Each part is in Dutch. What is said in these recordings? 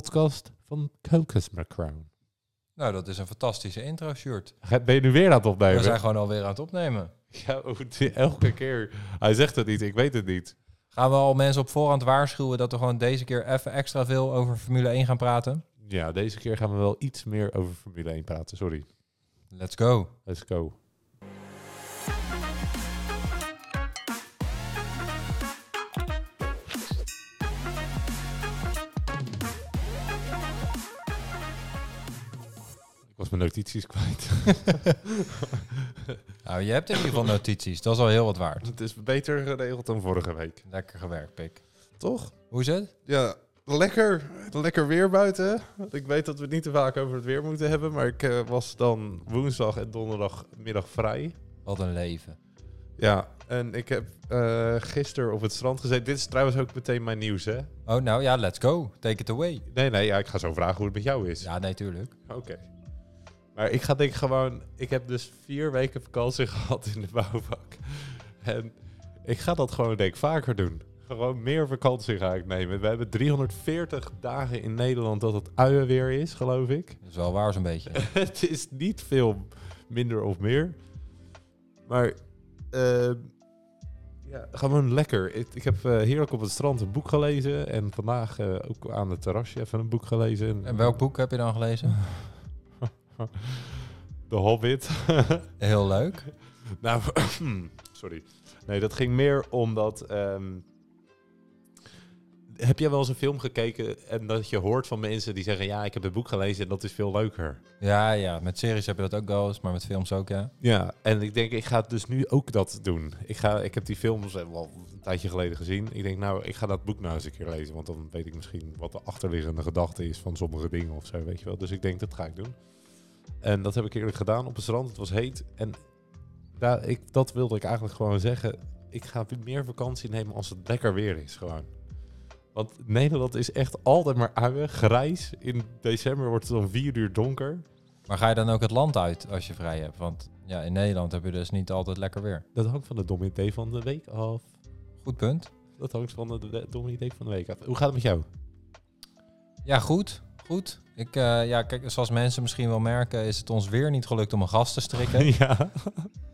podcast van Cocos Crown. Nou, dat is een fantastische intro-shirt. Ben je nu weer aan het We opnemen? zijn gewoon alweer aan het opnemen. Ja, hoe- elke keer. Hij zegt het niet, ik weet het niet. Gaan we al mensen op voorhand waarschuwen dat we gewoon deze keer even extra veel over Formule 1 gaan praten? Ja, deze keer gaan we wel iets meer over Formule 1 praten. Sorry. Let's go. Let's go. Ik was mijn notities kwijt. Nou, je hebt in ieder geval notities. Dat is al heel wat waard. Het is beter geregeld dan vorige week. Lekker gewerkt, Pik. Toch? Hoe is het? Ja, lekker. Lekker weer buiten. Ik weet dat we het niet te vaak over het weer moeten hebben. Maar ik eh, was dan woensdag en donderdagmiddag vrij. Wat een leven. Ja, en ik heb eh gisteren op het strand gezeten. Dit is trouwens ook meteen mijn nieuws, hè? Oh, nou ja, let's go. Take it away. Nee, nee, ja, ik ga zo vragen hoe het met jou is. Ja, natuurlijk. Oké. Maar ik ga denk ik gewoon... Ik heb dus vier weken vakantie gehad in de bouwvak. En ik ga dat gewoon denk ik vaker doen. Gewoon meer vakantie ga ik nemen. We hebben 340 dagen in Nederland dat het uienweer is, geloof ik. Dat is wel waar zo'n beetje. het is niet veel minder of meer. Maar eh, ja, gewoon lekker. Ik, ik heb eh, heerlijk op het strand een boek gelezen. En vandaag eh, ook aan het terrasje even een boek gelezen. En welk boek heb je dan gelezen? De Hobbit. Heel leuk. nou, sorry. Nee, dat ging meer omdat... ehm, heb jij wel eens een film gekeken en dat je hoort van mensen die zeggen... ja, ik heb het boek gelezen en dat is veel leuker. Ja, ja. Met series heb je dat ook wel eens, maar met films ook, ja. Ja, en ik denk, ik ga dus nu ook dat doen. Ik, ga, ik heb die films eh, wel een tijdje geleden gezien. Ik denk, nou, ik ga dat boek nou eens een keer lezen. Want dan weet ik misschien wat de achterliggende gedachte is van sommige dingen of zo, weet je wel. Dus ik denk, dat ga ik doen. En dat heb ik eerlijk gedaan op het strand. Het was heet. En daar, ik, dat wilde ik eigenlijk gewoon zeggen. Ik ga meer vakantie nemen als het lekker weer is, gewoon. Want Nederland is echt altijd maar uien, grijs. In december wordt het dan vier uur donker. Maar ga je dan ook het land uit als je vrij hebt? Want ja, in Nederland heb je dus niet altijd lekker weer. Dat hangt van de dominee van de week af. Goed punt. Dat hangt van de- de domme idee van de week af. Hoe gaat het met jou? Ja, goed. Goed. Ik, eh, ja, kijk, zoals mensen misschien wel merken, is het ons weer niet gelukt om een gast te strikken. Ja.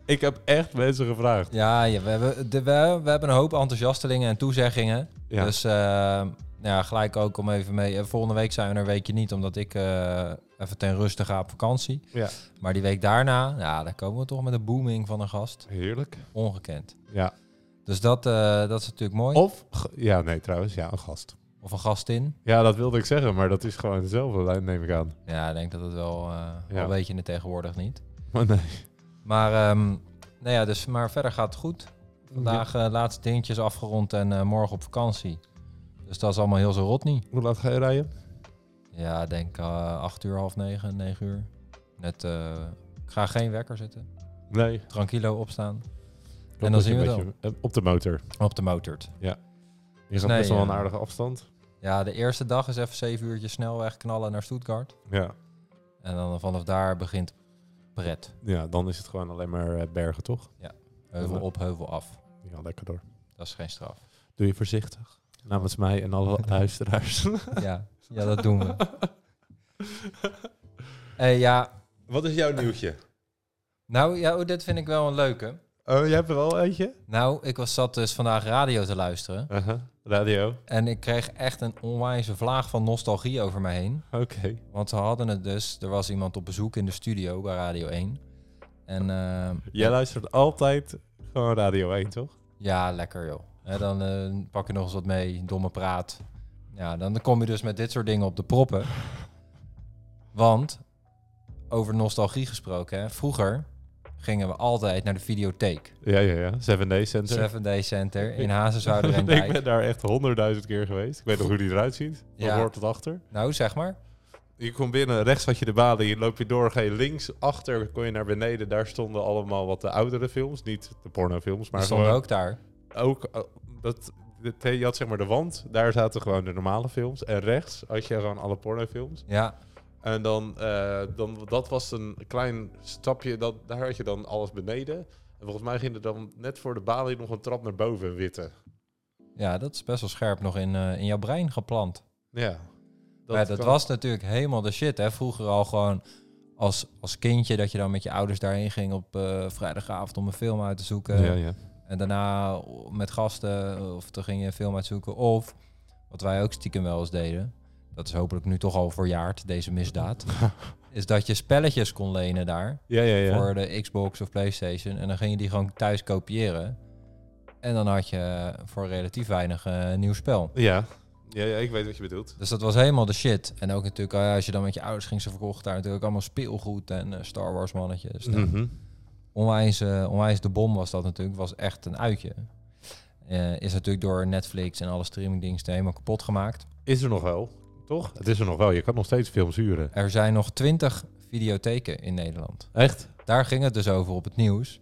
Ik heb echt mensen gevraagd. Ja, ja, we, hebben, de, we, we hebben een hoop enthousiastelingen en toezeggingen. Ja. Dus eh, ja, gelijk ook om even mee. eh, Volgende week zijn we er een weekje niet, omdat ik eh, even ten ruste ga op vakantie. Ja. Maar die week daarna, ja, daar komen we toch met een booming van een gast. Heerlijk. Ongekend. Ja. Dus dat, eh, dat is natuurlijk mooi. Of, ge- ja, nee, trouwens, ja, een gast. Of een gastin. Ja, dat wilde ik zeggen, maar dat is gewoon hetzelfde, neem ik aan. Ja, ik denk dat het wel, eh Ja. wel weet je het tegenwoordig niet. Maar nee. Maar, ehm, nou ja, dus, maar verder gaat het goed. Vandaag eh, laatste dingetjes afgerond en eh, morgen op vakantie. Dus dat is allemaal heel zo rot niet. Hoe laat ga je rijden? Ja, ik denk eh acht uur, half negen, negen uur. Net, eh, ik ga geen wekker zetten. Nee. Tranquilo opstaan. dat dan moet zien je we een het beetje- eh, Op de motor. Op de motort. Je gaat Nee, best wel ja. een aardige afstand. Ja, de eerste dag is even zeven uurtjes snelweg knallen naar Stuttgart. Ja. En dan vanaf daar begint pret. Ja, dan is het gewoon alleen maar eh, bergen, toch? Heuvel Ja. op, heuvel af. Ja, lekker door. Dat is geen straf. Doe je voorzichtig. Namens mij en alle luisteraars. Ja, ja dat doen we. Eh, ja, Wat is jouw nieuwtje? nou, ja, oh, dit vind ik wel een leuke. Oh, jij hebt er wel eentje? Nou, ik was zat dus vandaag radio te luisteren. Uh-huh. Radio. En ik kreeg echt een onwijze vlaag van nostalgie over mij heen. Oké. Want ze hadden het dus, er was iemand op bezoek in de studio bij Radio 1. En eh, Jij luistert altijd gewoon Radio 1, toch? ja, lekker joh. Hè, dan eh, pak je nog eens wat mee, domme praat. Ja, dan kom je dus met dit soort dingen op de proppen. Want, over nostalgie gesproken, hè, vroeger gingen we altijd naar de videotheek. Ja, ja, ja. Seven Days Center. Seven Day Center in Hazenswouder en ik ben daar echt honderdduizend keer geweest. Ik weet nog hoe die eruit ziet. Van Ja. voor tot achter. Nou, zeg maar. Je komt binnen, rechts had je de balie, loop je door, ga je links achter, kon je naar beneden. Daar stonden allemaal wat de oudere films, niet de pornofilms, maar Maar stonden gewoon ook daar. ook, eh, dat, dat- je had zeg maar de wand, daar zaten gewoon de normale films. En rechts had je gewoon alle pornofilms. Ja, En dan, eh, dan, dat was een klein stapje, dat, daar had je dan alles beneden. En volgens mij ging er dan net voor de balie nog een trap naar boven, een witte. ja, dat is best wel scherp nog in, eh, in jouw brein geplant. Ja. Dat Dat, ja, dat kan- was natuurlijk helemaal de shit. Hè? Vroeger al gewoon als, als kindje dat je dan met je ouders daarheen ging op eh, vrijdagavond om een film uit te zoeken. Ja, ja. En daarna met gasten of toen ging je een film uitzoeken. Of wat wij ook stiekem wel eens deden. Dat is hopelijk nu toch al verjaard, deze misdaad. is dat je spelletjes kon lenen daar Ja, ja, ja. voor de Xbox of PlayStation. En dan ging je die gewoon thuis kopiëren. En dan had je voor relatief weinig eh, een nieuw spel. Ja. Ja, ja, ik weet wat je bedoelt. Dus dat was helemaal de shit. En ook natuurlijk, eh, als je dan met je ouders ging, ze verkochten daar natuurlijk allemaal speelgoed en eh, Star Wars mannetjes. Nou, Mhm. onwijs, eh, onwijs de bom was dat natuurlijk. Was echt een uitje. Eh, is natuurlijk door Netflix en alle streamingdiensten helemaal kapot gemaakt. Is er nog wel, toch? Het is er nog wel. Je kan nog steeds films huren. Er zijn nog twintig videotheken in Nederland. Echt? Daar ging het dus over op het nieuws.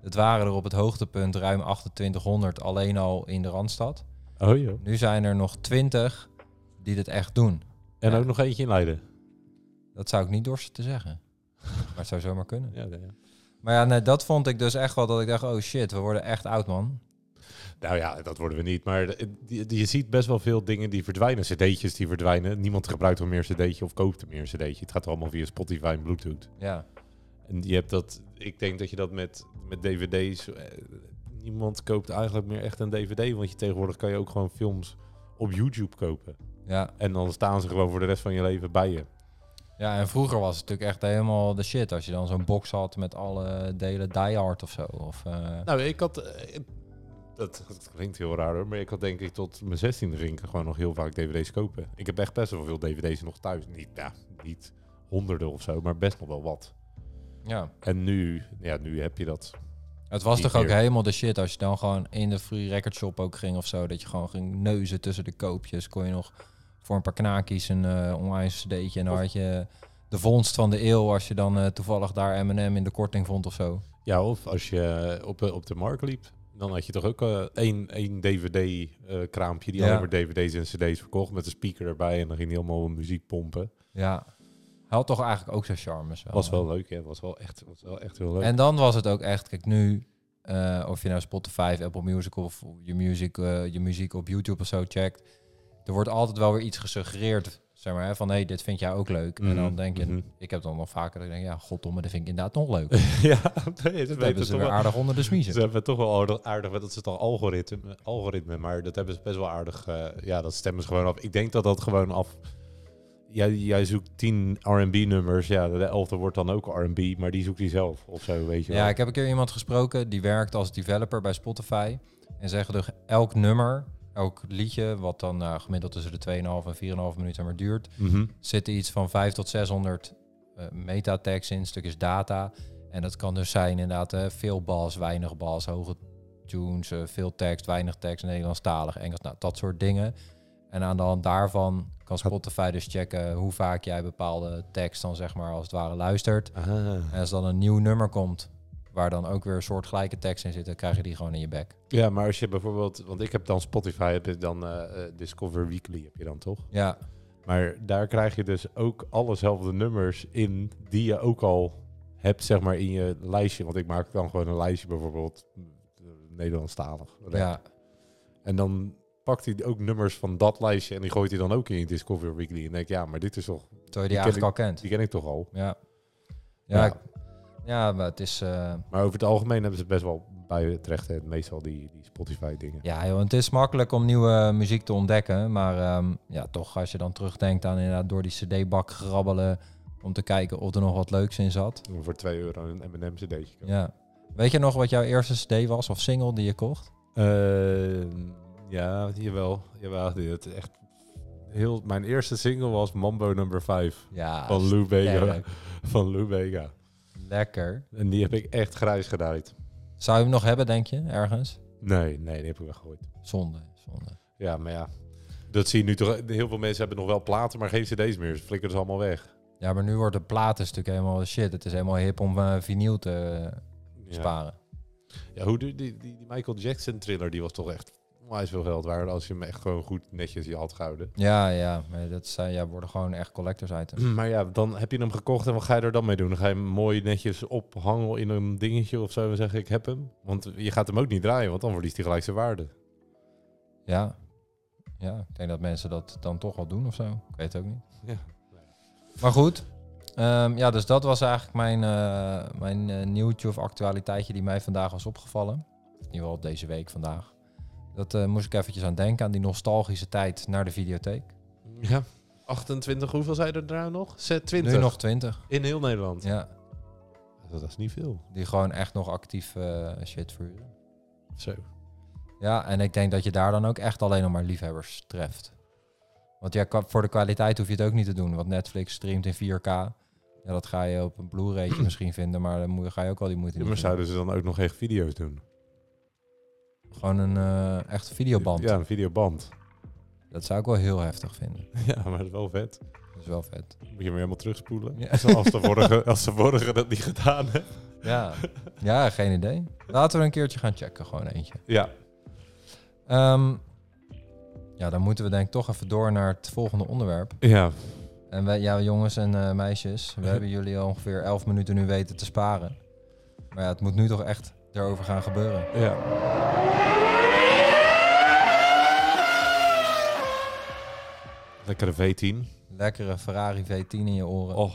Het waren er op het hoogtepunt ruim 2800 alleen al in de Randstad. Oh joh. Nu zijn er nog 20 die dit echt doen. En Ja. ook nog eentje in Leiden. Dat zou ik niet dorsten te zeggen. Maar het zou zomaar kunnen. Ja, ja. Maar ja, nee, dat vond ik dus echt wel dat ik dacht, oh shit, we worden echt oud man. Nou ja, dat worden we niet. Maar de- die- die- je ziet best wel veel dingen die verdwijnen. CD'tjes die verdwijnen. Niemand gebruikt er meer CD'tje of koopt er meer CD'tje. Het gaat allemaal via Spotify en Bluetooth. Ja, En je hebt dat, ik denk dat je dat met, met DVD's. eh, niemand koopt eigenlijk meer echt een DVD. Want je tegenwoordig kan je ook gewoon films op YouTube kopen. ja. En dan staan ze gewoon voor de rest van je leven bij je. ja, en vroeger was het natuurlijk echt helemaal de shit. Als je dan zo'n box had met alle delen Die Hard of zo. Of, eh, Nou, ik had. eh, dat, dat klinkt heel raar hoor, maar ik had denk ik tot mijn 16e ging ik gewoon nog heel vaak DVD's kopen. Ik heb echt best wel veel DVD's nog thuis. Niet, ja, niet honderden of zo, maar best nog wel wat. ja. En nu, ja, nu heb je dat. Het was Niet toch ook meer. helemaal de shit als je dan gewoon in de free record shop ook ging of zo. Dat je gewoon ging neuzen tussen de koopjes. Kon je nog voor een paar knakies een eh onwijs cd'tje. En dan had je de vondst van de eeuw als je dan eh, toevallig daar M&M in de korting vond of zo. Ja, of als je op, eh, op de markt liep, dan had je toch ook eh, één, één DVD-kraampje eh, die Ja. alleen maar DVD's en CD's verkocht met een speaker erbij. En dan ging die allemaal muziek pompen. Ja, had toch eigenlijk ook zijn charmes wel. Was wel leuk, ja. Was wel echt, was wel echt heel leuk. En dan was het ook echt, kijk nu, eh, of je nou Spotify, Apple Music of je muziek, eh, je muziek op YouTube of zo checkt. Er wordt altijd wel weer iets gesuggereerd, zeg maar, hè, van hé, hey, dit vind jij ook leuk. En dan Mhm, denk je, mhm. ik heb dan nog vaker dat ik denk, ja, goddomme, dat vind ik inderdaad nog leuk. Dat ja, nee, dat weten hebben we ze toch weer wel. aardig onder de smiezen. Ze hebben toch wel aardig, aardig want dat is dan algoritme, algoritme, maar dat hebben ze best wel aardig. eh, ja, dat stemmen ze gewoon af. Ik denk dat dat gewoon af. Jij, jij zoekt tien RB-nummers, ja, de elfde wordt dan ook RB, maar die zoekt hij zelf of zo, weet je wel. Ja, ik heb een keer iemand gesproken die werkt als developer bij Spotify. En zeggen dus elk nummer, elk liedje, wat dan nou, gemiddeld tussen de 2,5 en 4,5 minuten maar duurt, Mhm. zitten iets van 5 tot 600 eh metatags in, stukjes data. En dat kan dus zijn inderdaad eh, veel bas, weinig bas, hoge tunes, eh, veel tekst, weinig tekst, Nederlandstalig, Engels, nou, dat soort dingen. En aan de hand daarvan kan Spotify dus checken hoe vaak jij bepaalde tekst dan zeg maar als het ware luistert. Ah. En als dan een nieuw nummer komt, waar dan ook weer een soort gelijke tekst in zit, dan krijg je die gewoon in je bek. Ja, maar als je bijvoorbeeld, want ik heb dan Spotify, heb je dan eh, eh, Discover Weekly, heb je dan toch? Ja, Maar daar krijg je dus ook allezelfde nummers in die je ook al hebt, zeg maar, in je lijstje. Want ik maak dan gewoon een lijstje bijvoorbeeld eh, Nederlandstalig. ja, En dan pakt hij ook nummers van dat lijstje en die gooit hij dan ook in je Discover Weekly. En denk ja, maar dit is toch, terwijl je Die die ken ik- eigenlijk al kent. die ken ik toch al. Ja, ja, Ja. ik- ja maar het is... eh, Maar over het algemeen hebben ze best wel bij het recht, hè, meestal die, die Spotify dingen. Ja, joh, het is makkelijk om nieuwe muziek te ontdekken. Maar ehm, ja, toch als je dan terugdenkt aan inderdaad door die cd-bak grabbelen... om te kijken of er nog wat leuks in zat. Voor 2 euro een M&M cd'tje. kopen. Ja. Weet je nog wat jouw eerste cd was of single die je kocht? Eh, ja, jawel. jawel het is echt heel, mijn eerste single was Mambo Number 5 Ja, van Lou Bega. Ah, sterk. Van Lou Bega. Lekker. En die heb ik echt grijs gedaaid. Zou je hem nog hebben, denk je, ergens? Nee, nee, die heb ik weggegooid. Zonde, zonde. Ja, maar ja. Dat zie je nu toch. Heel veel mensen hebben nog wel platen, maar geen cd's meer. Ze flikkeren ze allemaal weg. Ja, maar nu wordt de plaat dus natuurlijk helemaal de shit. Het is helemaal hip om eh, vinyl te eh, Ja. sparen. ja, hoe die, die, die Michael Jackson thriller, die was toch echt onwijs veel geld waard als je hem echt gewoon goed netjes je had gehouden. Ja, ja, maar dat zijn, ja, worden gewoon echt collectors items. Hm, Maar ja, dan heb je hem gekocht en wat ga je er dan mee doen? Dan ga je hem mooi netjes ophangen in een dingetje of zo en zeggen ik heb hem. Want je gaat hem ook niet draaien, want dan verliest hij gelijk zijn waarde. Ja. ja, ik denk dat mensen dat dan toch wel doen of zo. Ik weet het ook niet. Ja. Maar goed. ehm, ja, dus dat was eigenlijk mijn, eh, mijn eh, nieuwtje of actualiteitje die mij vandaag was opgevallen. In ieder geval deze week vandaag. Dat eh, moest ik eventjes aan denken, aan die nostalgische tijd naar de videotheek. Ja. 28, hoeveel zijn er daar nog? Zet 20. Nu nog 20. In heel Nederland. Ja, Dat is niet veel. die gewoon echt nog actief eh, shit verhuren. Zo. Ja, en ik denk dat je daar dan ook echt alleen nog maar liefhebbers treft. Want ja, qua- voor de kwaliteit hoef je het ook niet te doen. Want Netflix streamt in 4K. Ja, dat ga je op een Blu-raytje misschien vinden, maar dan moet- ga je ook wel die moeite Ja, niet maar doen. zouden ze dan ook nog echt video's doen? Gewoon een eh echt videoband. Ja, een videoband. Dat zou ik wel heel heftig vinden. Ja, maar dat is wel vet. Dat is wel vet. Moet je maar helemaal terugspoelen. Ja. Als, de vorige, als de vorige dat niet gedaan heeft. Ja. ja, geen idee. Laten we een keertje gaan checken, gewoon eentje. Ja. Ehm, ja, dan moeten we denk ik toch even door naar het volgende onderwerp. Ja. En wij, ja, jongens en eh, meisjes, we hebben jullie al ongeveer 11 minuten nu weten te sparen. Maar ja, het moet nu toch echt erover gaan gebeuren. Ja. Lekkere V10. Lekkere Ferrari V10 in je oren. Oh.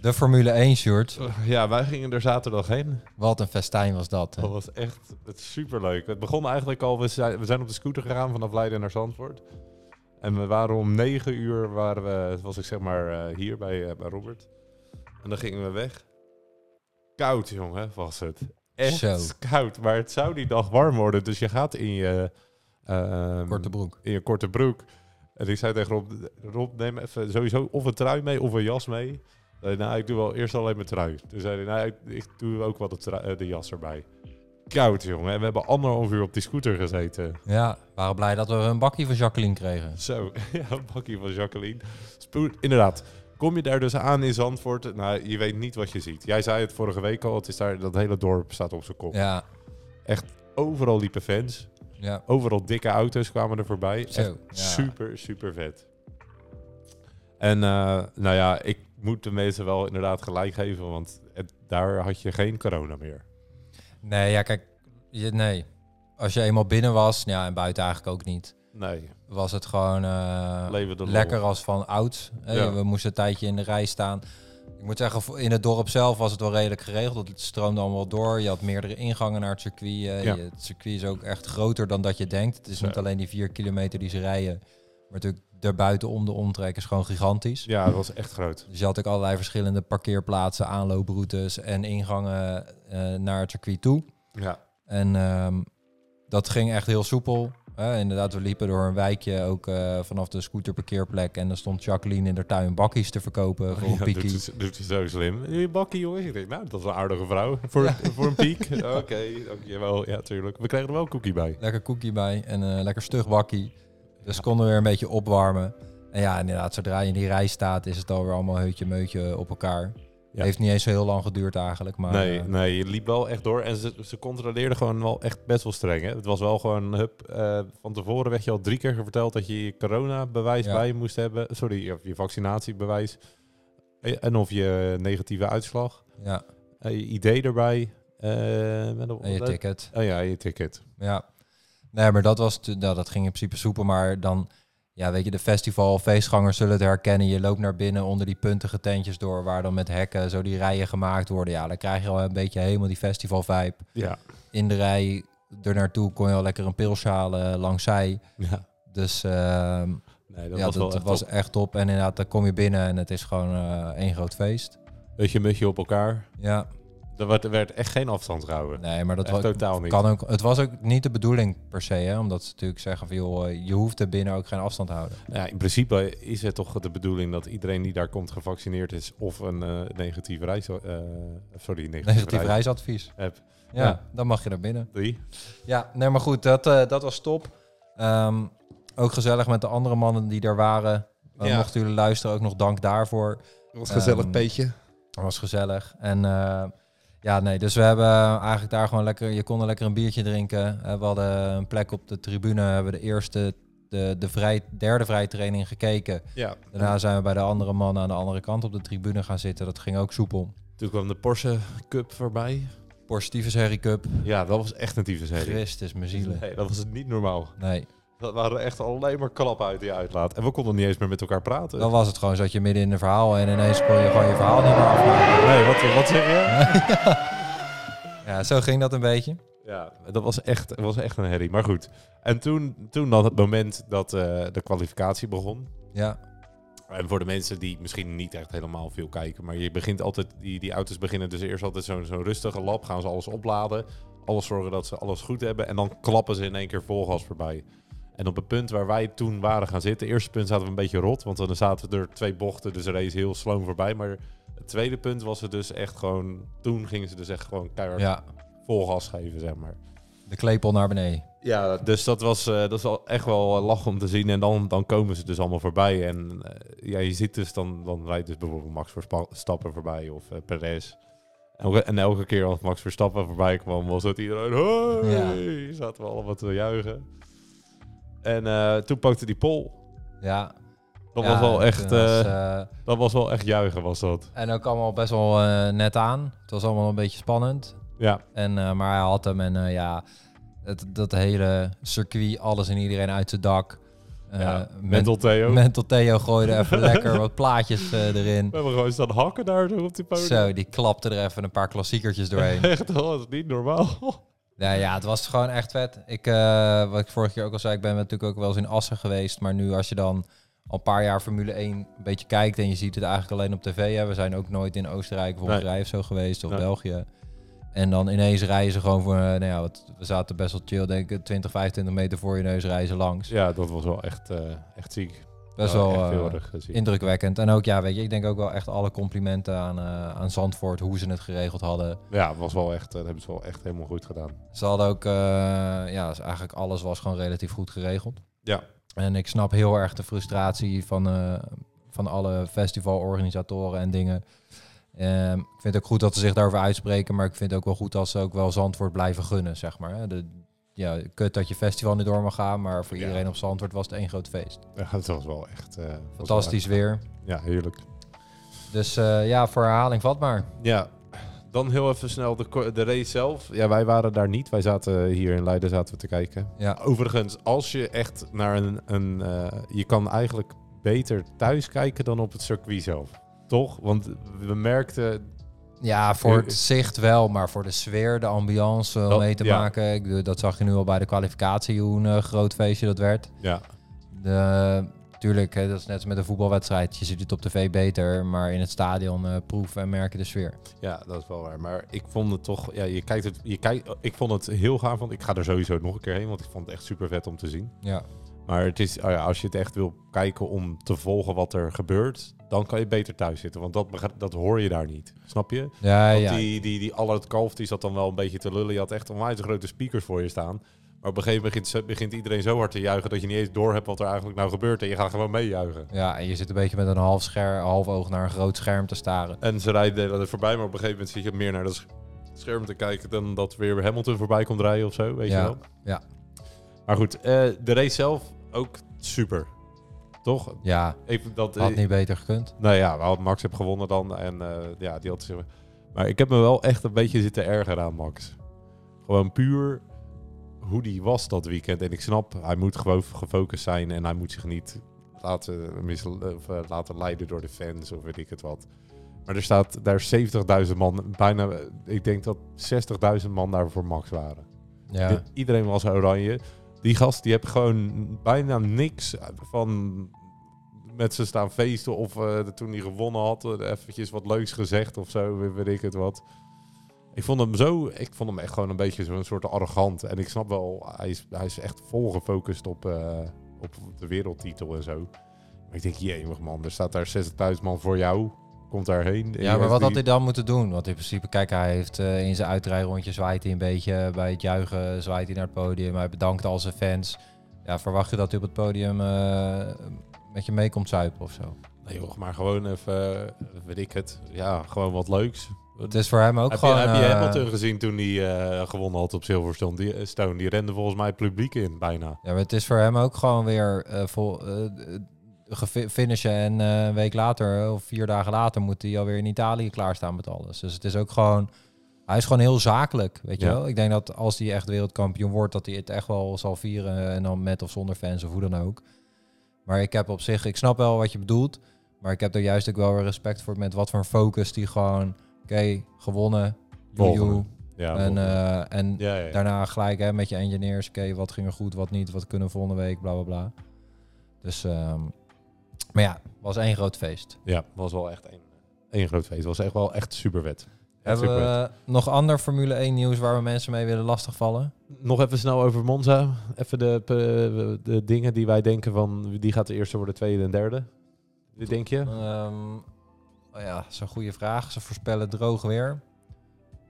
De Formule 1 shirt. Ja, wij gingen er zaterdag heen. Wat een festijn was dat. hè. Dat was echt het is superleuk. Het begon eigenlijk al, we zijn, we zijn op de scooter gegaan vanaf Leiden naar Zandvoort. En we waren om negen uur, waren we, was ik zeg maar eh, hier bij, eh, bij Robert. En dan gingen we weg. Koud, jongen, was het. Echt Zo. koud, maar het zou die dag warm worden. Dus je gaat in je... ehm, Korte broek. in je korte broek. En ik zei tegen Rob, Rob neem even sowieso of een trui mee of een jas mee. Zei, nou, ik doe wel eerst alleen mijn trui. Toen zei hij, nou, ik, ik doe ook wat de, trui- eh, de jas erbij. Koud, jongen. En we hebben anderhalf uur op die scooter gezeten. Ja, we waren blij dat we een bakkie van Jacqueline kregen. Zo, ja, een bakje van Jacqueline. Spoed, inderdaad. Kom je daar dus aan in Zandvoort? Nou, je weet niet wat je ziet. Jij zei het vorige week al, het is daar, dat hele dorp staat op zijn kop. Oh. Ja, Overal liepen fans. ja. Overal dikke auto's kwamen er voorbij. Zo, Echt ja. super, super vet. En eh, nou ja, ik moet de mensen wel inderdaad gelijk geven, want het- daar had je geen corona meer. Nee, ja, kijk. Je, nee. Als je eenmaal binnen was, ja, en buiten eigenlijk ook niet. Nee, was het gewoon eh, Leven de lol. lekker als van oud. Hè, Ja. We moesten een tijdje in de rij staan. Ik moet zeggen, voor- in het dorp zelf was het wel redelijk geregeld. Het stroomde allemaal door. Je had meerdere ingangen naar het circuit. eh, Ja. je- het circuit is ook echt groter dan dat je denkt. Het is Zo. niet alleen die vier kilometer die ze rijden. Maar natuurlijk daarbuiten om de omtrek is gewoon gigantisch. ja, dat was echt groot. Dus je had ook allerlei verschillende parkeerplaatsen, aanlooproutes en ingangen eh, naar het circuit toe. Ja, En ehm, dat ging echt heel soepel. Eh, inderdaad, we liepen door een wijkje ook eh, vanaf de scooterparkeerplek. En dan stond Jacqueline in de tuin bakkies te verkopen voor een Oh, Ja, doet, piekie. ze, doet ze zo slim. Wil je bakkie, jongens? Ik denk, nou, dat is een aardige vrouw voor, voor een piek. Oké, dankjewel. Ja, tuurlijk. We kregen er wel een cookie bij. Lekker koekie bij en een lekker stug bakkie. Dus konden we weer een beetje opwarmen. En ja, inderdaad, zodra je in die rij staat, is het alweer allemaal heutje meutje op elkaar. Ja. Heeft niet eens zo heel lang geduurd eigenlijk. Maar nee, eh, nee, je liep wel echt door. En ze, ze controleerden gewoon wel echt best wel streng. Hè? Het was wel gewoon, hup, eh, van tevoren werd je al drie keer verteld dat je je coronabewijs Ja. bij je moest hebben. Sorry, of je vaccinatiebewijs. Eh, En of je negatieve uitslag. ja, Eh, je idee erbij. Eh, met een- en je ticket. Oh ja, je ticket. Ja. Nee, maar dat was, te- nou, dat ging in principe soepel, maar dan, ja, weet je, de festival, feestgangers zullen het herkennen. Je loopt naar binnen onder die puntige tentjes door, waar dan met hekken zo die rijen gemaakt worden. Ja, dan krijg je al een beetje helemaal die festival vibe. Ja. In de rij er naartoe kon je al lekker een pilsje halen langs zij. ja. Dus ehm, Nee, dat ja, was wel dat echt was top. echt top. En inderdaad, dan kom je binnen en het is gewoon eh, één groot feest. Beetje mutje op elkaar. Ja, Er werd, er werd echt geen afstand gehouden. nee, maar dat echt was, totaal niet. kan ook, het was ook niet de bedoeling per se, hè, omdat ze natuurlijk zeggen van, joh, eh, je hoeft er binnen ook geen afstand te houden. Ja, in principe is het toch de bedoeling dat iedereen die daar komt gevaccineerd is of een eh negatieve reis... eh, sorry, negatieve, Negatief reis. reisadvies. App. Ja, Ja. dan mag je naar binnen. Drie. Ja, nee, maar goed, dat, eh, dat was top. Ehm, ook gezellig met de andere mannen die er waren. Eh, Ja. Mochten jullie luisteren, ook nog dank daarvoor. Wat gezellig, Ehm, Peetje. Dat was gezellig. En eh, ja, nee, dus we hebben eigenlijk daar gewoon lekker... Je kon er lekker een biertje drinken. Eh, we hadden een plek op de tribune. We hebben de eerste, de, de vrij, derde vrijtraining gekeken. Ja. Daarna zijn we bij de andere mannen aan de andere kant op de tribune gaan zitten. Dat ging ook soepel. Toen kwam de Porsche Cup voorbij. Positieve Serie Cup. Ja, dat was echt een tieve serie. Christus, mijn zielen. Nee, dat was niet normaal. Nee. Dat waren echt alleen maar klappen uit die uitlaat. En we konden niet eens meer met elkaar praten. Dan was het gewoon, zat je midden in een verhaal en ineens kon je gewoon je verhaal niet meer afmaken. Nee, wat, wat zeg je? Ja, zo ging dat een beetje. Ja, dat was echt, dat was echt een herrie. Maar goed. En toen, toen dan het moment dat eh, de kwalificatie begon. Ja, En voor de mensen die misschien niet echt helemaal veel kijken, maar je begint altijd, die, die auto's beginnen dus eerst altijd zo'n zo'n rustige lap, gaan ze alles opladen, alles zorgen dat ze alles goed hebben en dan klappen ze in één keer vol gas voorbij. En op het punt waar wij toen waren gaan zitten, het eerste punt zaten we een beetje rot, want dan zaten we er twee bochten, dus de race heel sloom voorbij. Maar het tweede punt was het dus echt gewoon, toen gingen ze dus echt gewoon keihard ja, vol gas geven, zeg maar. de klepel naar beneden. Ja, dus dat was, eh, dat is al echt wel eh, lach om te zien. En dan, dan komen ze dus allemaal voorbij. En eh, ja, je ziet dus, dan, dan rijdt dus bijvoorbeeld Max Verstappen voorbij of eh, Perez. Elke- en elke keer als Max Verstappen voorbij kwam, was het iedereen... Hey! Zaten we allemaal te juichen. En eh, toen pakte die Pol. Ja, Dat, ja, was wel en echt, toen was, eh, eh, dat was wel echt juichen, was dat. en ook allemaal best wel eh, net aan. Het was allemaal een beetje spannend. Ja, En, eh, maar hij had hem en eh, ja, het, dat hele circuit, alles en iedereen uit zijn dak. Eh, ja. men- Mental Theo. Mental Theo gooide even lekker wat plaatjes eh, erin. We hebben gewoon staan hakken daar zo op die podium. Zo, die klapte er even een paar klassiekertjes doorheen. Echt, dat was niet normaal. nou ja, het was gewoon echt vet. Ik, eh, wat ik vorige keer ook al zei, ik ben natuurlijk ook wel eens in Assen geweest. Maar nu als je dan al een paar jaar Formule 1 een beetje kijkt en je ziet het eigenlijk alleen op tv. Hè. We zijn ook nooit in Oostenrijk of Nee. Hongarije of zo geweest of Nee. België. En dan ineens rijden ze gewoon voor, eh, nou ja, wat, we zaten best wel chill denk ik, 20, 25 meter voor je neus rijden ze langs. Ja, dat was wel echt, eh, echt ziek. Best Ja, wel Oh, echt heel eh, erg gezien. indrukwekkend. En ook, ja, weet je, ik denk ook wel echt alle complimenten aan, eh, aan Zandvoort, hoe ze het geregeld hadden. Ja, het was wel echt, eh, dat hebben ze wel echt helemaal goed gedaan. Ze hadden ook, eh, ja, dus eigenlijk alles was gewoon relatief goed geregeld. Ja. En ik snap heel erg de frustratie van, eh, van alle festivalorganisatoren en dingen. Ehm, ik vind het ook goed dat ze zich daarover uitspreken, maar ik vind het ook wel goed dat ze ook wel Zandvoort blijven gunnen, zeg maar. hè. De, ja, kut dat je festival niet door mag gaan, maar voor Ja. iedereen op Zandvoort was het één groot feest. ja, dat was wel echt... eh, was wel Fantastisch weer. echt- ja, heerlijk. Dus eh, ja, voor herhaling vatbaar. Ja, dan heel even snel de, ko- de race zelf. Ja, wij waren daar niet. Wij zaten hier in Leiden zaten we te kijken. Ja. Overigens, als je echt naar een... een eh, je kan eigenlijk beter thuis kijken dan op het circuit zelf. Toch? Want we merkten... Ja, voor Eh, het zicht wel, maar voor de sfeer, de ambiance om Dat- mee te Oh, ja. maken. Ik bedoel, dat zag je nu al bij de kwalificatie, hoe een eh, groot feestje dat werd. Ja, De, tuurlijk, hè, dat is net als met een voetbalwedstrijd. Je ziet het op tv beter, maar in het stadion eh, proef en merk je de sfeer. Ja, dat is wel waar. Maar ik vond het toch, ja, je kijkt het, je kijkt, ik vond het heel gaaf, want ik ga er sowieso nog een keer heen, want ik vond het echt super vet om te zien. Ja, Maar het is, ah ja, als je het echt wil kijken om te volgen wat er gebeurt, dan kan je beter thuis zitten, want dat, begra- dat hoor je daar niet. Snap je? ja, Want ja. die, die, die Allard Kalf, die zat dan wel een beetje te lullen. Je had echt onwijs grote speakers voor je staan. Maar op een gegeven moment begint, begint iedereen zo hard te juichen dat je niet eens door hebt wat er eigenlijk nou gebeurt. En je gaat gewoon meejuichen. ja, en je zit een beetje met een half, scher, half oog naar een groot scherm te staren. En ze rijden er voorbij, maar op een gegeven moment zit je meer naar dat sch- scherm te kijken dan dat weer Hamilton voorbij komt rijden of zo, weet Ja, je wel? ja. Maar goed, eh, de race zelf ook super, toch? Ja, Ik, dat, eh, had niet beter gekund. Nou ja, wel, Max heeft gewonnen dan en eh, ja, die had zich- Maar ik heb me wel echt een beetje zitten erger aan Max. Gewoon puur hoe die was dat weekend. En ik snap, hij moet gewoon gefocust zijn en hij moet zich niet laten, mis, of, eh, laten leiden door de fans of weet ik het wat. Maar er staat daar 70.000 man, bijna, eh, ik denk dat 60.000 man daar voor Max waren. Ja, I- Iedereen was oranje. Die gast die heeft gewoon bijna niks van met ze staan feesten of eh, de- toen hij gewonnen had, eh, eventjes wat leuks gezegd of zo, we- weet ik het wat. Ik vond hem zo, ik vond hem echt gewoon een beetje zo'n soort arrogant. En ik snap wel, hij is, hij is echt vol gefocust op, eh, op de wereldtitel en zo. Maar ik denk, jemig man, er staat daar 60.000 man voor jou, komt daarheen. ja maar wat Die- had hij dan moeten doen? Want in principe, kijk, hij heeft eh, in zijn uitrijrondje zwaait hij een beetje. Bij het juichen zwaait hij naar het podium. Hij bedankt al zijn fans. Ja, verwacht je dat hij op het podium eh, met je mee komt zuipen of zo? Nee joh, maar gewoon even, eh, weet ik het, ja, gewoon wat leuks. Het is voor hem ook heb, gewoon... je, heb je eh, Hamilton gezien toen hij eh, gewonnen had op Silverstone? Die, eh, Stone, die rende volgens mij het publiek in, bijna. Ja, maar het is voor hem ook gewoon weer eh vol, eh, eh, gefi- finishen en eh, een week later eh, of vier dagen later moet hij alweer in Italië klaarstaan met alles. Dus het is ook gewoon Hij is gewoon heel zakelijk, weet je Ja. wel. Ik denk dat als hij echt wereldkampioen wordt, dat hij het echt wel zal vieren. eh, En dan met of zonder fans of hoe dan ook. Maar ik heb op zich, ik snap wel wat je bedoelt. Maar ik heb er juist ook wel weer respect voor met wat voor een focus die gewoon... Oké, gewonnen. joejoe. Volgende. Ja, En, volgende. eh, en ja, ja, ja. daarna gelijk hè, met je engineers. Oké, wat ging er goed, wat niet, wat kunnen we volgende week, bla bla bla. Dus, ehm, maar ja, was één groot feest. Ja, was wel echt één, één groot feest. Was echt wel echt super wet. Hebben we eh, nog ander Formule 1 nieuws waar we mensen mee willen lastigvallen? Nog even snel over Monza. Even de, pe- de dingen die wij denken van die gaat de eerste worden, tweede en derde. Dit denk je? Ehm, oh ja, dat is een goede vraag. Ze voorspellen droog weer.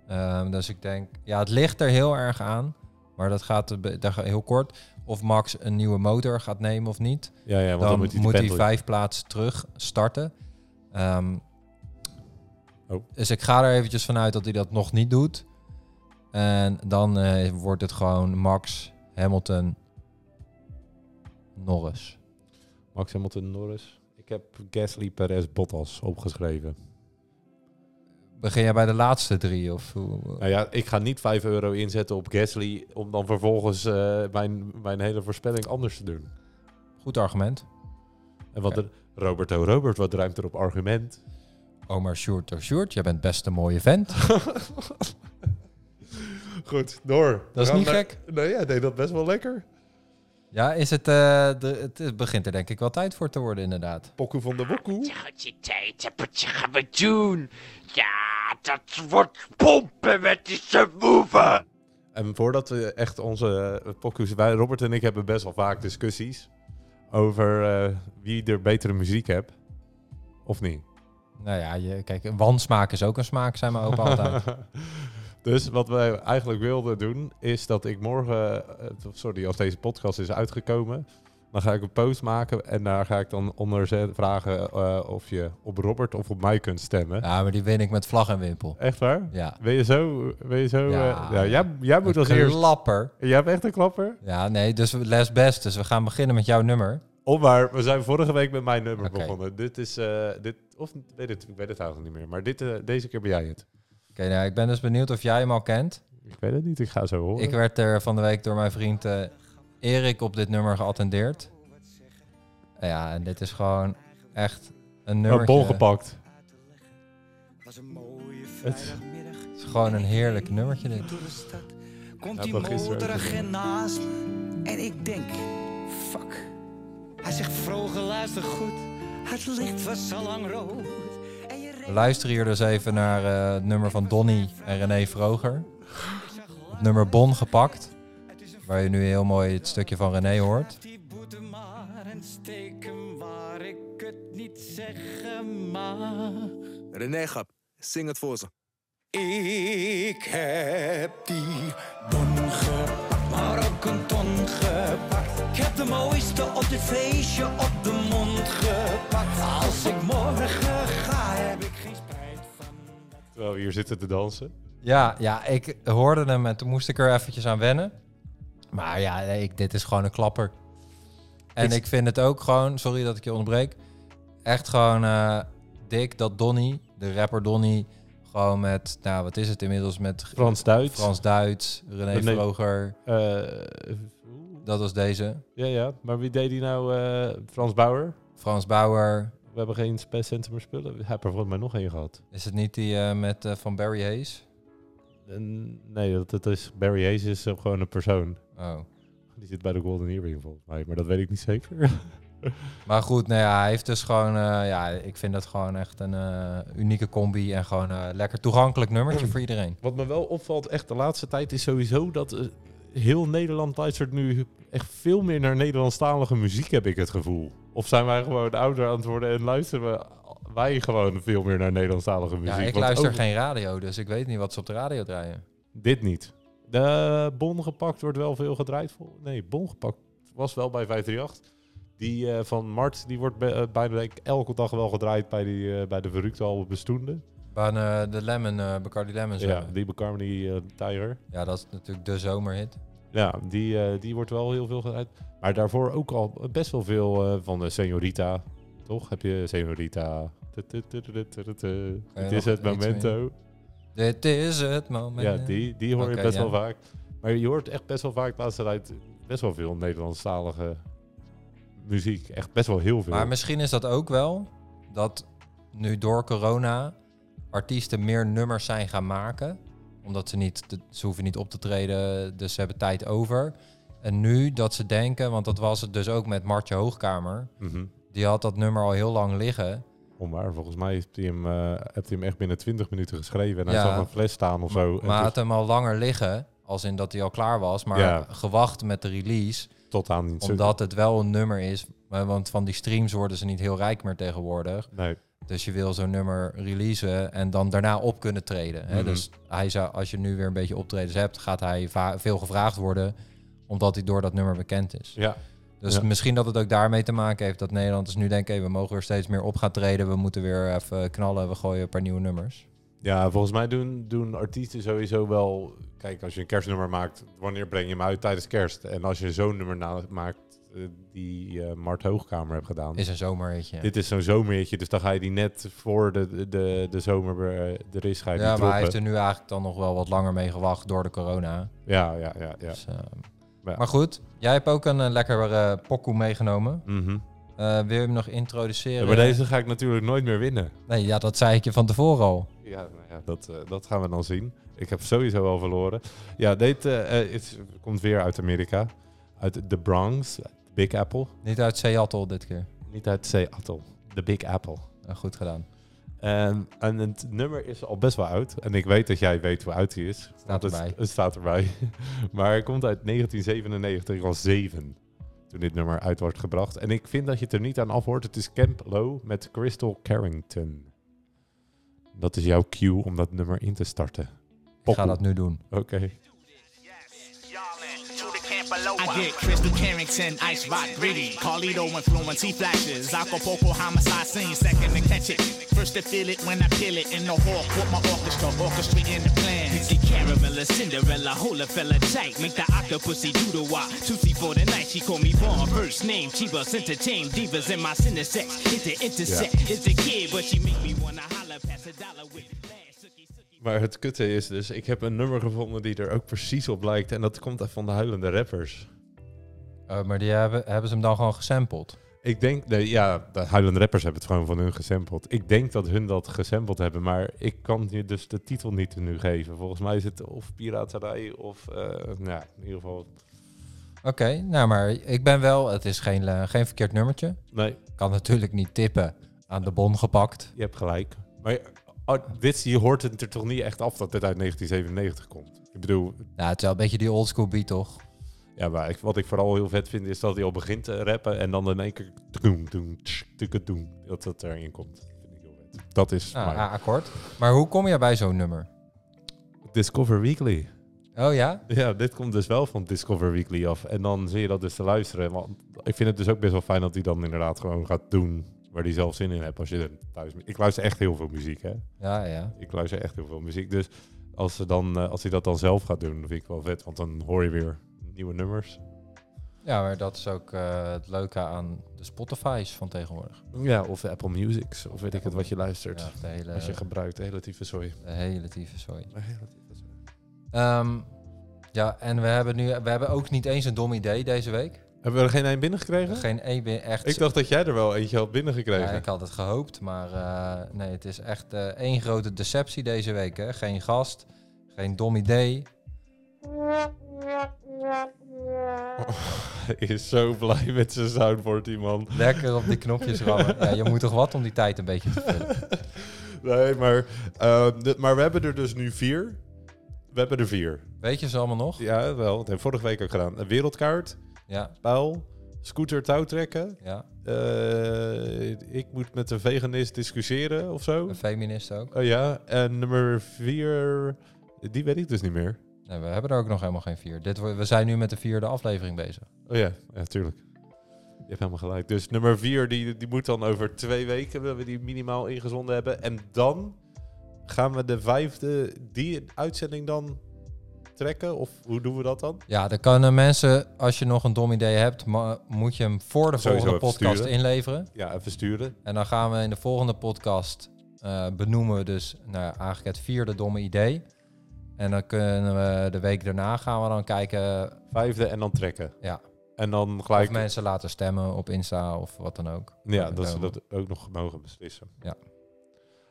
Ehm, dus ik denk, ja, het ligt er heel erg aan. Maar dat gaat er be- daar ga- heel kort. Of Max een nieuwe motor gaat nemen of niet. Ja, ja want dan, dan, moet hij, moet hij vijf. vijf plaatsen terug starten. Ehm, Oh. Dus ik ga er eventjes vanuit dat hij dat nog niet doet. En dan eh, wordt het gewoon Max, Hamilton, Norris. Max Hamilton, Norris. Ik heb Gasly, Perez, Bottas opgeschreven. Begin jij bij de laatste drie? Of hoe? Nou ja, ik ga niet 5 euro inzetten op Gasly om dan vervolgens eh, mijn, mijn hele voorspelling anders te doen. Goed argument. En wat er, Robert O. Robert, wat ruimt er op argument? Omar Sjoerd door Sjoerd, jij bent best een mooie vent. Goed, door. Dat is We niet gaan naar- gek. Nee, hij deed dat best wel lekker. Ja, is het, eh, de, het- het begint er denk ik wel tijd voor te worden inderdaad. Pokoe van de Wokoe. Gaat je tijd hebben, wat je gaan we doen? Ja, dat wordt pompen met die subwoofer. En voordat we echt onze eh, pokoes... Wij, Robert en ik hebben best wel vaak discussies over eh, wie er betere muziek hebt. Of niet. Nou ja, je, kijk, een wansmaak is ook een smaak, zijn maar opa altijd. dus wat wij eigenlijk wilden doen, is dat ik morgen... eh, sorry, als deze podcast is uitgekomen... Dan ga ik een post maken en daar ga ik dan onder zet- vragen eh, of je op Robert of op mij kunt stemmen. Ja, maar die win ik met vlag en wimpel. Echt waar? Ja. Ben je zo... Ben je zo Ja. eh, ja, jij, jij moet als Een eerst... klapper. Jij hebt echt een klapper? Ja, nee, dus les best. Dus we gaan beginnen met jouw nummer. Om maar, we zijn vorige week met mijn nummer Oké. begonnen. Dit is, eh, dit, of weet het, ik weet het eigenlijk niet meer. Maar dit, eh, deze keer ben jij het. Oké, nou, ik ben dus benieuwd of jij hem al kent. Ik weet het niet, ik ga zo horen. Ik werd er van de week door mijn vriend eh, Erik op dit nummer geattendeerd. Eh, Ja, en dit is gewoon echt een Maar nummer. bol gepakt. was een mooie Het- vrijdagmiddag. Het is gewoon een heerlijk nummertje dit. Door de stad komt Ja, die dat gisteren ook motoragent naast me. En ik denk, fuck. Hij zegt vroeger luister goed. Het licht was al lang rood. En je We luisteren hier dus even naar eh, het nummer van Donny en René Vroger. Het nummer Bon gepakt. Waar je nu heel mooi het stukje van René hoort. Die boete maar en steek hem waar ik het niet zeggen mag. René Gap, zing het voor ze. Ik heb die bon gepakt, maar ook een ton gepakt. Ik heb de mooiste op dit feestje op de mond gepakt. Als ik morgen ga, heb ik geen spijt van dat. Terwijl we hier zitten te dansen. Ja, ja, ik hoorde hem en toen moest ik er eventjes aan wennen. Maar ja, nee, ik, dit is gewoon een klapper. En ik vind het ook gewoon, sorry dat ik je onderbreek, echt gewoon eh, dik dat Donny, de rapper Donny, gewoon met, nou wat is het inmiddels, met G- Frans Duits. Frans Duits, René René. Vroger, Eh, dat was deze, ja, ja. Maar wie deed die nou? eh, Frans Bauer? Frans Bauer, We hebben geen spe- centen meer spullen. Hij heeft er volgens mij nog één gehad. is het niet die eh, met eh, van Barry Hayes? En, nee, dat, dat is Barry Hayes is eh, gewoon een persoon. Oh. Die zit bij de Golden Earring volgens mij. Maar dat weet ik niet zeker. Maar goed, nou ja, hij heeft dus gewoon, eh, ja, ik vind dat gewoon echt een eh, unieke combi en gewoon een lekker toegankelijk nummertje voor iedereen. Wat me wel opvalt, echt de laatste tijd, is sowieso dat eh, heel Nederland luistert nu echt veel meer naar Nederlandstalige muziek, heb ik het gevoel. Of zijn wij gewoon ouder aan het worden en luisteren we, wij gewoon veel meer naar Nederlandstalige muziek? Ja, ik Want luister ook geen radio, dus ik weet niet wat ze op de radio draaien. Dit niet. De Bon gepakt wordt wel veel gedraaid. vol- Nee, Bon gepakt was wel bij 538. Die eh, van Mart, die wordt bij- eh, bijna denk ik elke dag wel gedraaid bij, die, eh, bij de verrukte halve bestoende. Van eh, de Lemon, eh Bacardi Lemon Ja, ja. die Carmody eh Tiger. ja, dat is natuurlijk de zomerhit. Ja, die, eh, die wordt wel heel veel gedraaid. Maar daarvoor ook al best wel veel eh, van de Senorita. Toch? Heb je Senorita. Tu, tu, tu, tu, tu, tu, tu. je Het nog is het iets momento. Dit is het moment. Ja, die, die hoor eh, Oké, je best ja. wel vaak. Maar je hoort echt best wel vaak de laatste tijd best wel veel Nederlandstalige muziek. Echt best wel heel veel. Maar misschien is dat ook wel dat nu door corona artiesten meer nummers zijn gaan maken. Omdat ze niet, te- ze hoeven niet op te treden, dus ze hebben tijd over. En nu dat ze denken, want dat was het dus ook met Martje Hoogkamer. Mhm. Die had dat nummer al heel lang liggen. Onwaar, volgens mij heeft hij hem, eh, heeft hij hem echt binnen 20 minuten geschreven. En Ja. hij zag een fles staan of zo. En Maar toen- had hem al langer liggen, als in dat hij al klaar was. Maar Ja. gewacht met de release, tot aan iets. omdat het wel een nummer is. Maar- Want van die streams worden ze niet heel rijk meer tegenwoordig. Nee, Dus je wil zo'n nummer releasen en dan daarna op kunnen treden. Hè? Mhm. Dus hij zou, als je nu weer een beetje optredens hebt, gaat hij va- veel gevraagd worden, omdat hij door dat nummer bekend is. ja. Dus Ja. misschien dat het ook daarmee te maken heeft dat Nederlanders nu denken, hé, we mogen er steeds meer op gaan treden, we moeten weer even knallen, we gooien een paar nieuwe nummers. ja, volgens mij doen, doen artiesten sowieso wel... Kijk, als je een kerstnummer maakt, wanneer breng je hem uit tijdens kerst? En als je zo'n nummer na- maakt eh, die eh Mart Hoogkamer hebt gedaan... Is een zomerhitje. Dit is zo'n zomerhitje, dus dan ga je die net voor de, de, de zomer eh, er is, ga je die ja, maar hij droppen. heeft er nu eigenlijk dan nog wel wat langer mee gewacht door de corona. Ja, ja, ja. ja. Dus, eh, Ja. Maar goed, jij hebt ook een eh, lekker eh pokoe meegenomen. Mhm. Eh, wil je hem nog Ja, introduceren? maar deze ga ik natuurlijk nooit meer winnen. Nee, ja, dat zei ik je van tevoren al. Ja, nou ja dat, eh, dat gaan we dan zien. Ik heb sowieso al verloren. Ja, dit eh, eh, is- komt weer uit Amerika. Uit de Bronx, Big Apple. Niet uit Seattle dit keer. Niet uit Seattle, de Big Apple. Eh, goed gedaan. En, en het nummer is al best wel oud. En ik weet dat jij weet hoe oud hij is. want het, erbij. het staat erbij. maar hij komt uit 1997, ik was zeven toen dit nummer uit wordt gebracht. En ik vind dat je het er niet aan afhoort. Het is Camp Low met Crystal Carrington. Dat is jouw cue om dat nummer in te starten. Ik ga dat nu doen. Oké. I get Crystal Carrington, Ice Rock, Gritty, Carlito influence, he flashes, Acapulco homicide scene, second to catch it, first to feel it when I peel it in the hawk with my orchestra, orchestrating the plan. Dixie Caramella, Cinderella, Hola Fella tight, make the octopusy do the wop, Tootsie for the night, she call me Vaughn, first name, Chiba, center chain, divas in my sex. hit the intersect, it's the kid, but she make me wanna holler past a dollar with last sookie, sookie. Maar het kutte is dus, ik heb een nummer gevonden die er ook precies op lijkt. En dat komt van de huilende rappers. Eh, maar die hebben, hebben ze hem dan gewoon gesampled. Ik denk, nee, ja, de huilende rappers hebben het gewoon van hun gesampled. Ik denk dat hun dat gesampled hebben, maar ik kan je dus de titel niet nu geven. Volgens mij is het of piraterij of, eh, nou, ja, in ieder geval, Oké, nou maar ik ben wel... Het is geen, eh, geen verkeerd nummertje. nee, Kan natuurlijk niet tippen. Aan de bon gepakt. je hebt gelijk. Maar je- ah, dit, je hoort het er toch niet echt af dat dit uit 1997 komt. Ik bedoel, Nou, het is wel een beetje die oldschool beat, toch? ja, maar ik, wat ik vooral heel vet vind is dat hij al begint te rappen en dan in één keer tkoem, tkoem, tsch, tkoem, tkoem, dat dat erin komt. Dat vind ik heel vet. Dat is Nou, mijn- A-akkoord. Maar hoe kom je bij zo'n nummer? Discover Weekly. Oh ja? Ja, dit komt dus wel van Discover Weekly af. En dan zie je dat dus te luisteren. Want ik vind het dus ook best wel fijn dat hij dan inderdaad gewoon gaat doen waar hij zelf zin in hebt. Als je er thuis... Ik luister echt heel veel muziek, hè. Ja, ja. Ik luister echt heel veel muziek. Dus als, ze dan, eh, als hij dat dan zelf gaat doen, vind ik wel vet. Want dan hoor je weer nieuwe nummers. Ja, maar dat is ook eh, het leuke aan de Spotify's van tegenwoordig. Ja, of de Apple Music. Of weet ik het wat je luistert. Ja, de hele, Als je gebruikt, relatieve sorry. de hele tieve zooi. Ehm, ja, en we hebben, nu, we hebben ook niet eens een dom idee deze week. Hebben we er geen een binnengekregen? Geen één bin- echt. Ik dacht dat jij er wel eentje had binnengekregen. Ja, ik had het gehoopt, maar eh, nee, het is echt eh, één grote deceptie deze week. Hè? Geen gast, geen dom idee. Hij is zo blij met zijn soundboard, die man. Lekker op die knopjes rammen. Ja, je moet toch wat om die tijd een beetje te vullen. Nee, maar, eh, dit- maar we hebben er dus nu vier. We hebben er vier. Weet je ze allemaal nog? Ja, wel. Dat hebben we vorige week ook gedaan. Een Wereldkaart, Ja, pijl, scooter touwtrekken. ja. eh, ik moet met een veganist discussiëren of zo. Een feminist ook. Oh ja, en nummer vier, die weet ik dus niet meer. Nee, we hebben er ook nog helemaal geen vier. Dit, wo- we zijn nu met de vierde aflevering bezig. Oh ja, ja, tuurlijk. Je hebt helemaal gelijk. Dus nummer vier, die, die moet dan over twee weken, willen we die minimaal ingezonden hebben. En dan gaan we de vijfde, die uitzending dan trekken? Of hoe doen we dat dan? Ja, dan kunnen mensen, als je nog een dom idee hebt, ma- moet je hem voor de Sowieso volgende even podcast sturen. inleveren. Ja, even sturen. En dan gaan we in de volgende podcast eh, eh, benoemen we dus nou, eigenlijk het vierde domme idee. En dan kunnen we de week daarna gaan we dan kijken Vijfde en dan trekken. Ja. En dan of gelijk... mensen laten stemmen op Insta of wat dan ook. Ja, dat ze komen. dat ook nog mogen beslissen. Ja.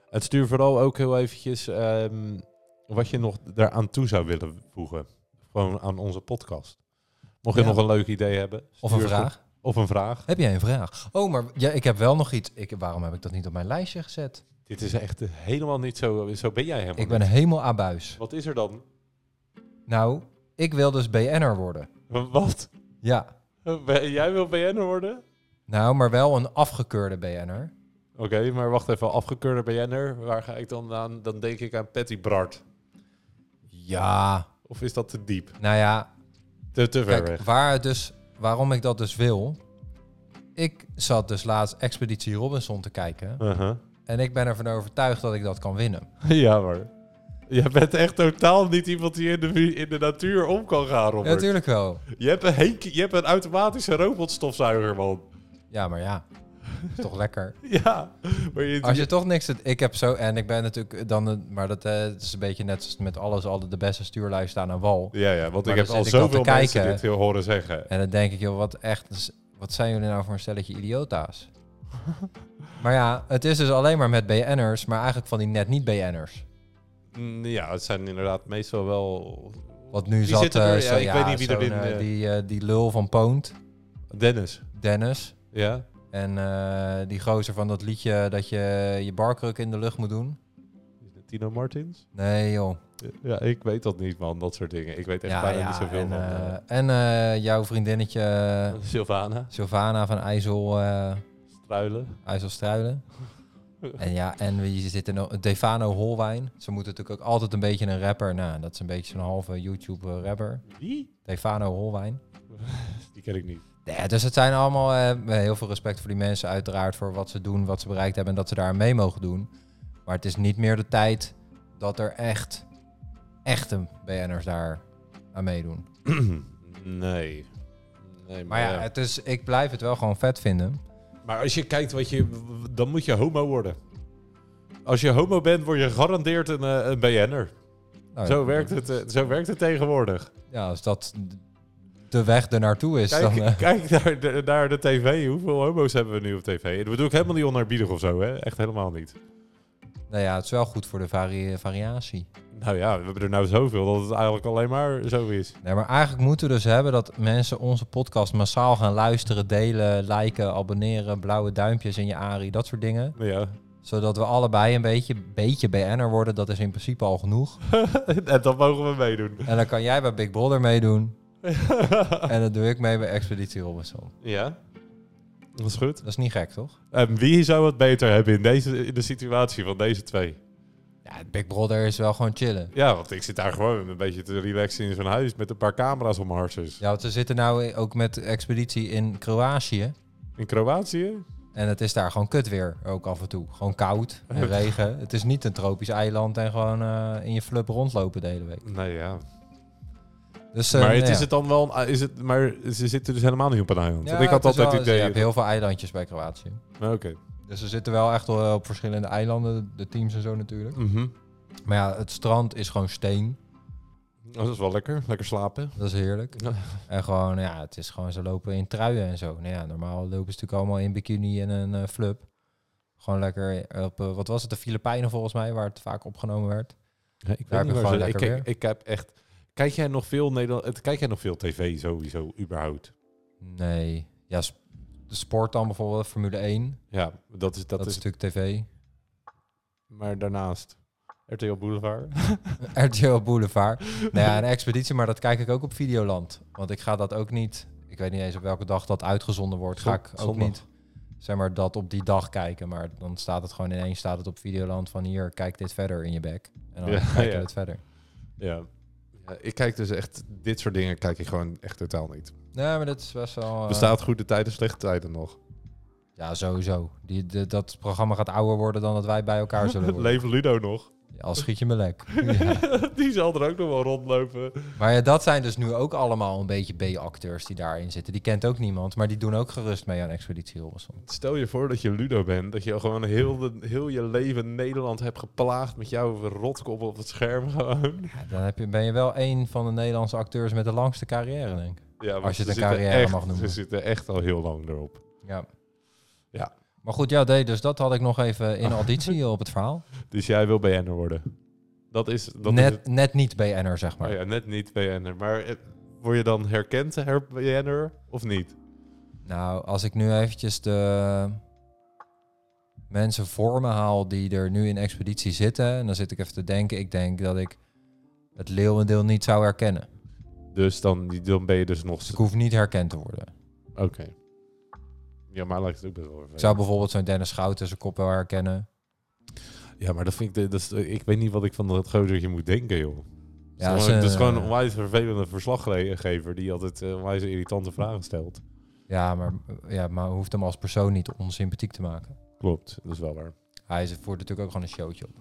En stuur vooral ook heel eventjes ehm, wat je nog daaraan toe zou willen voegen. Gewoon aan onze podcast. Mocht je Ja. nog een leuk idee hebben. Of een stuur vraag. goed- Of een vraag. Heb jij een vraag? Oh, maar ja, ik heb wel nog iets. Ik, waarom heb ik dat niet op mijn lijstje gezet? Dit is echt helemaal niet zo. Zo ben jij helemaal Ik ben niet. helemaal abuis. Wat is er dan? Nou, ik wil dus BN'er worden. W- Wat? Ja. Ben- Jij wil BN'er worden? Nou, maar wel een afgekeurde BN'er. Oké, maar wacht even. Afgekeurde BN'er. Waar ga ik dan aan? Dan denk ik aan Patty Bart. Ja. Of is dat te diep? Nou ja, Te, te ver Kijk, weg. waar het dus, waarom ik dat dus wil. Ik zat dus laatst Expeditie Robinson te kijken. Uh-huh. En ik ben ervan overtuigd dat ik dat kan winnen. Ja, maar. Jij bent echt totaal niet iemand die in de, in de natuur om kan gaan, Ja, Robert. natuurlijk wel. je, hebt een Henk, je hebt een automatische robotstofzuiger, man. Ja, maar ja. Is toch lekker. Ja. Maar je, Als je toch niks... Ik heb zo... En ik ben natuurlijk dan... een- Maar dat eh, het is een beetje net als met alles. Altijd de beste stuurlui staan aan wal. ja, ja, want ik Maar heb dan al zit ik al te zoveel mensen kijken. dit heel horen zeggen. En dan denk ik, joh, wat echt... Wat zijn jullie nou voor een stelletje idiota's? maar ja, het is dus alleen maar met BN'ers. Maar eigenlijk van die net niet BN'ers. Mm, Ja, het zijn inderdaad meestal wel... Want nu Wie zat... zit er eh, weer? Ja, zo- ik weet niet wie zo'n, erin, eh, eh. die, eh, die lul van Poont, Dennis. Dennis. Ja? En eh, die gozer van dat liedje dat je je barkruk in de lucht moet doen. Tino Martins? Nee, joh. Ja, ik weet dat niet, man. Dat soort dingen. Ik weet echt Ja, bijna ja, niet zoveel en van. eh, eh, en eh, jouw vriendinnetje eh, Sylvana. Sylvana van IJssel, eh Struilen. IJsselstruinen. en ja, en wie zit er nog? Defano Holwijn. Ze moeten natuurlijk ook altijd een beetje een rapper. Nou, dat is een beetje zo'n halve YouTube-rapper. Wie? Defano Holwijn. Die ken ik niet. Nee, dus het zijn allemaal eh, heel veel respect voor die mensen, uiteraard, voor wat ze doen, wat ze bereikt hebben en dat ze daar aan mee mogen doen. Maar het is niet meer de tijd dat er echt, echte BN'ers daar aan meedoen. nee. nee Maar ja, het is, ik blijf het wel gewoon vet vinden. Maar als je kijkt wat je... Dan moet je homo worden. Als je homo bent, word je gegarandeerd een, eh, een BN'er. Nou, Zo, werkt het, eh, zo werkt het tegenwoordig. Ja, als dat de weg er naartoe is, Kijk, dan. eh, kijk naar, de, naar de tv. Hoeveel homo's hebben we nu op tv? En Dat bedoel ik helemaal niet onerbiedig of zo, hè? Echt helemaal niet. nou ja, het is wel goed voor de vari- variatie. Nou ja, we hebben er nou zoveel dat het eigenlijk alleen maar zo is. Nee, maar eigenlijk moeten we dus hebben dat mensen onze podcast massaal gaan luisteren, delen, liken, abonneren, blauwe duimpjes in je ARI, dat soort dingen. Maar Ja. Zodat we allebei een beetje, beetje BN'er worden. Dat is in principe al genoeg. en dat mogen we meedoen. En dan kan jij bij Big Brother meedoen. en dat doe ik mee bij Expeditie Robinson. Ja. Dat is goed. Dat is niet gek, toch? En wie zou het beter hebben in, deze, in de situatie van deze twee? Ja, Big Brother is wel gewoon chillen. Ja, want ik zit daar gewoon een beetje te relaxen in zo'n huis met een paar camera's om mijn harsjes. Ja, want we zitten nou ook met Expeditie in Kroatië. In Kroatië? En het is daar gewoon kut weer, ook af en toe. Gewoon koud en regen. Het is niet een tropisch eiland en gewoon eh, in je flup rondlopen de hele week. Nou ja. Dus, eh, Maar het nou is ja. het dan wel... ah, Is het, maar ze zitten dus helemaal niet op een eiland. Ja, Want ik had het is altijd wel- het idee... Je hebt heel veel eilandjes bij Kroatië. Nou, Oké. Dus ze zitten wel echt wel op verschillende eilanden, de teams en zo natuurlijk. Mhm. Maar ja, het strand is gewoon steen. Oh, dat is wel lekker. Lekker slapen. Dat is heerlijk. Ja. En gewoon, ja, het is gewoon, ze lopen in truien en zo. Nou ja, normaal lopen ze natuurlijk allemaal in bikini en een eh flub. Gewoon lekker op, eh, wat was het, de Filipijnen volgens mij, waar het vaak opgenomen werd. ik, Daar heb je gewoon ik, lekker ik, ik heb echt... Kijk jij nog veel Nederland... het- Kijk jij nog veel tv sowieso, überhaupt? Nee, ja, sp- de sport dan bijvoorbeeld, Formule 1, Ja, dat is... dat, Dat is is natuurlijk tv. maar daarnaast... RTL Boulevard. RTL Boulevard. nou ja, een expeditie, maar dat kijk ik ook op Videoland. Want ik ga dat ook niet, ik weet niet eens op welke dag dat uitgezonden wordt, ga ik ook Zondag. niet. zeg maar, dat op die dag kijken. Maar dan staat het gewoon ineens staat het op Videoland van hier, kijk dit verder in je bek. En dan Ja, kijken ja. we het verder. Ja. ja. Ik kijk dus echt... Dit soort dingen kijk ik gewoon echt totaal niet. Nee, maar dat is best wel... eh, Bestaat goede tijden, slechte tijden nog? Ja, sowieso. Die, de- dat programma gaat ouder worden dan dat wij bij elkaar zullen worden. Leven Ludo nog? Al schiet je me lek. Ja. Die zal er ook nog wel rondlopen. Maar ja, dat zijn dus nu ook allemaal een beetje B-acteurs die daarin zitten. Die kent ook niemand, maar die doen ook gerust mee aan Expeditie Robinson. Stel je voor dat je Ludo bent. Dat je gewoon heel, de, heel je leven Nederland hebt geplaagd met jouw rotkop op het scherm gewoon. Ja, dan heb je, ben je wel een van de Nederlandse acteurs met de langste carrière, denk ik. Ja, want Als je ze het een zitten carrière echt- mag noemen. Ze zitten echt al heel lang erop. Ja. Ja. Maar goed, ja, nee, dus dat had ik nog even in auditie op het verhaal. Dus jij wil BN'er worden. Dat is, dat is net, het. net niet BN'er, zeg maar. Oh ja, net niet BN'er. Maar eh, word je dan herkend her BN'er of niet? Nou, als ik nu eventjes de mensen voor me haal die er nu in expeditie zitten, en dan zit ik even te denken, ik denk dat ik het leeuwendeel niet zou herkennen. Dus dan, dan ben je dus nog... Dus ik hoef niet herkend te worden. Oké. Ja, maar lijkt het ook best wel Ik vervelend. zou bijvoorbeeld zo'n Dennis Schouten zijn kop wel herkennen. Ja, maar dat vind ik... de- Dat is, ik weet niet wat ik van dat gozertje moet denken, joh. Ja, dat, is ze- gewoon, dat is gewoon een onwijs vervelende verslaggever die altijd eh, onwijs irritante vragen stelt. Ja, maar, ja, maar hoeft hem als persoon niet onsympathiek te maken. Klopt, dat is wel waar. Hij is- voert natuurlijk ook gewoon een showtje op.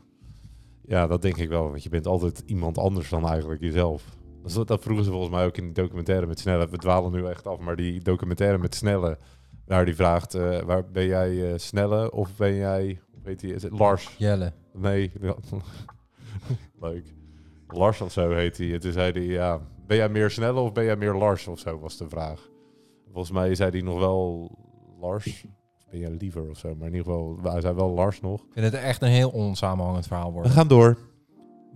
Ja, dat denk ik wel, want je bent altijd iemand anders dan eigenlijk jezelf. Dat, is wat- dat vroegen ze volgens mij ook in die documentaire met Snelle. We dwalen nu echt af, maar die documentaire met Snelle, daar die vraagt, eh, waar ben jij eh, Snelle of ben jij, hoe heet die, is het Lars? Jelle. Nee, ja. leuk. Lars of zo heet hij. En toen zei hij, ja, ben jij meer Snelle of ben jij meer Lars of zo, was de vraag. Volgens mij zei hij nog wel Lars, of ben jij liever of zo, maar in ieder geval, hij zei wel Lars nog. Ik vind het echt een heel onsamenhangend verhaal We worden. gaan door.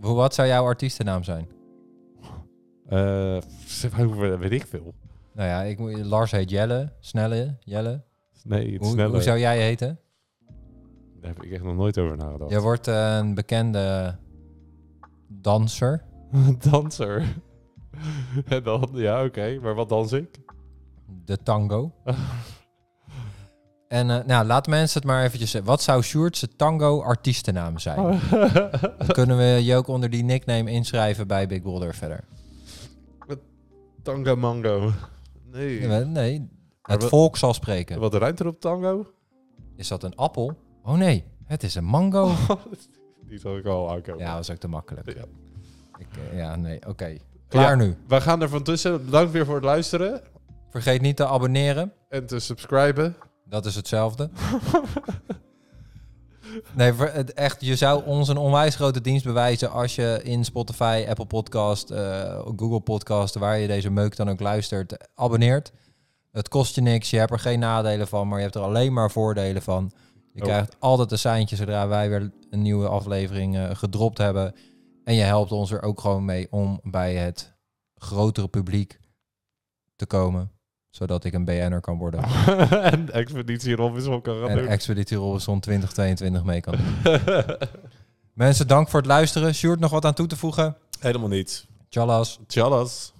Hoe- Wat zou jouw artiestennaam zijn? Eh, waarover weet ik veel. Nou ja, ik, moet- Lars heet Jelle. Snelle, Jelle. Nee, het Hoe, snelle. hoe zou jij heten? Daar heb ik echt nog nooit over nagedacht. Je wordt eh, een bekende danser. Danser. en dan, ja, oké. Maar wat dans ik? De tango. en eh, nou, laat mensen het maar eventjes zeggen. Wat zou Sjoerd's tango artiestennaam zijn? Dan kunnen we je ook onder die nickname inschrijven bij Big Brother verder. Tango mango. Nee. Nee, nee, het wat- volk zal spreken. Wat ruimt er op tango? Is dat een appel? Oh nee, het is een mango. Die zal ik al aankomen. Ja, dat was ook te makkelijk. Ja. Ik, eh, ja, nee, oké. Klaar nu. Wij gaan er van tussen. Bedankt weer voor het luisteren. Vergeet niet te abonneren. En te subscriben. Dat is hetzelfde. nee, ver- het echt, je zou ons een onwijs grote dienst bewijzen als je in Spotify, Apple Podcast, eh, Google Podcast, waar je deze meuk dan ook luistert, abonneert. Het kost je niks, je hebt er geen nadelen van, maar je hebt er alleen maar voordelen van. Je Oh. krijgt altijd een seintje zodra wij weer een nieuwe aflevering eh, gedropt hebben. En je helpt ons er ook gewoon mee om bij het grotere publiek te komen, zodat ik een BN'er kan worden en Expeditie Robinson kan gaan en doen. Expeditie Robinson 2022 mee kan doen. Mensen, dank voor het luisteren. Sjoerd, nog wat aan toe te voegen? Helemaal niets. Tjallas. Tjallas.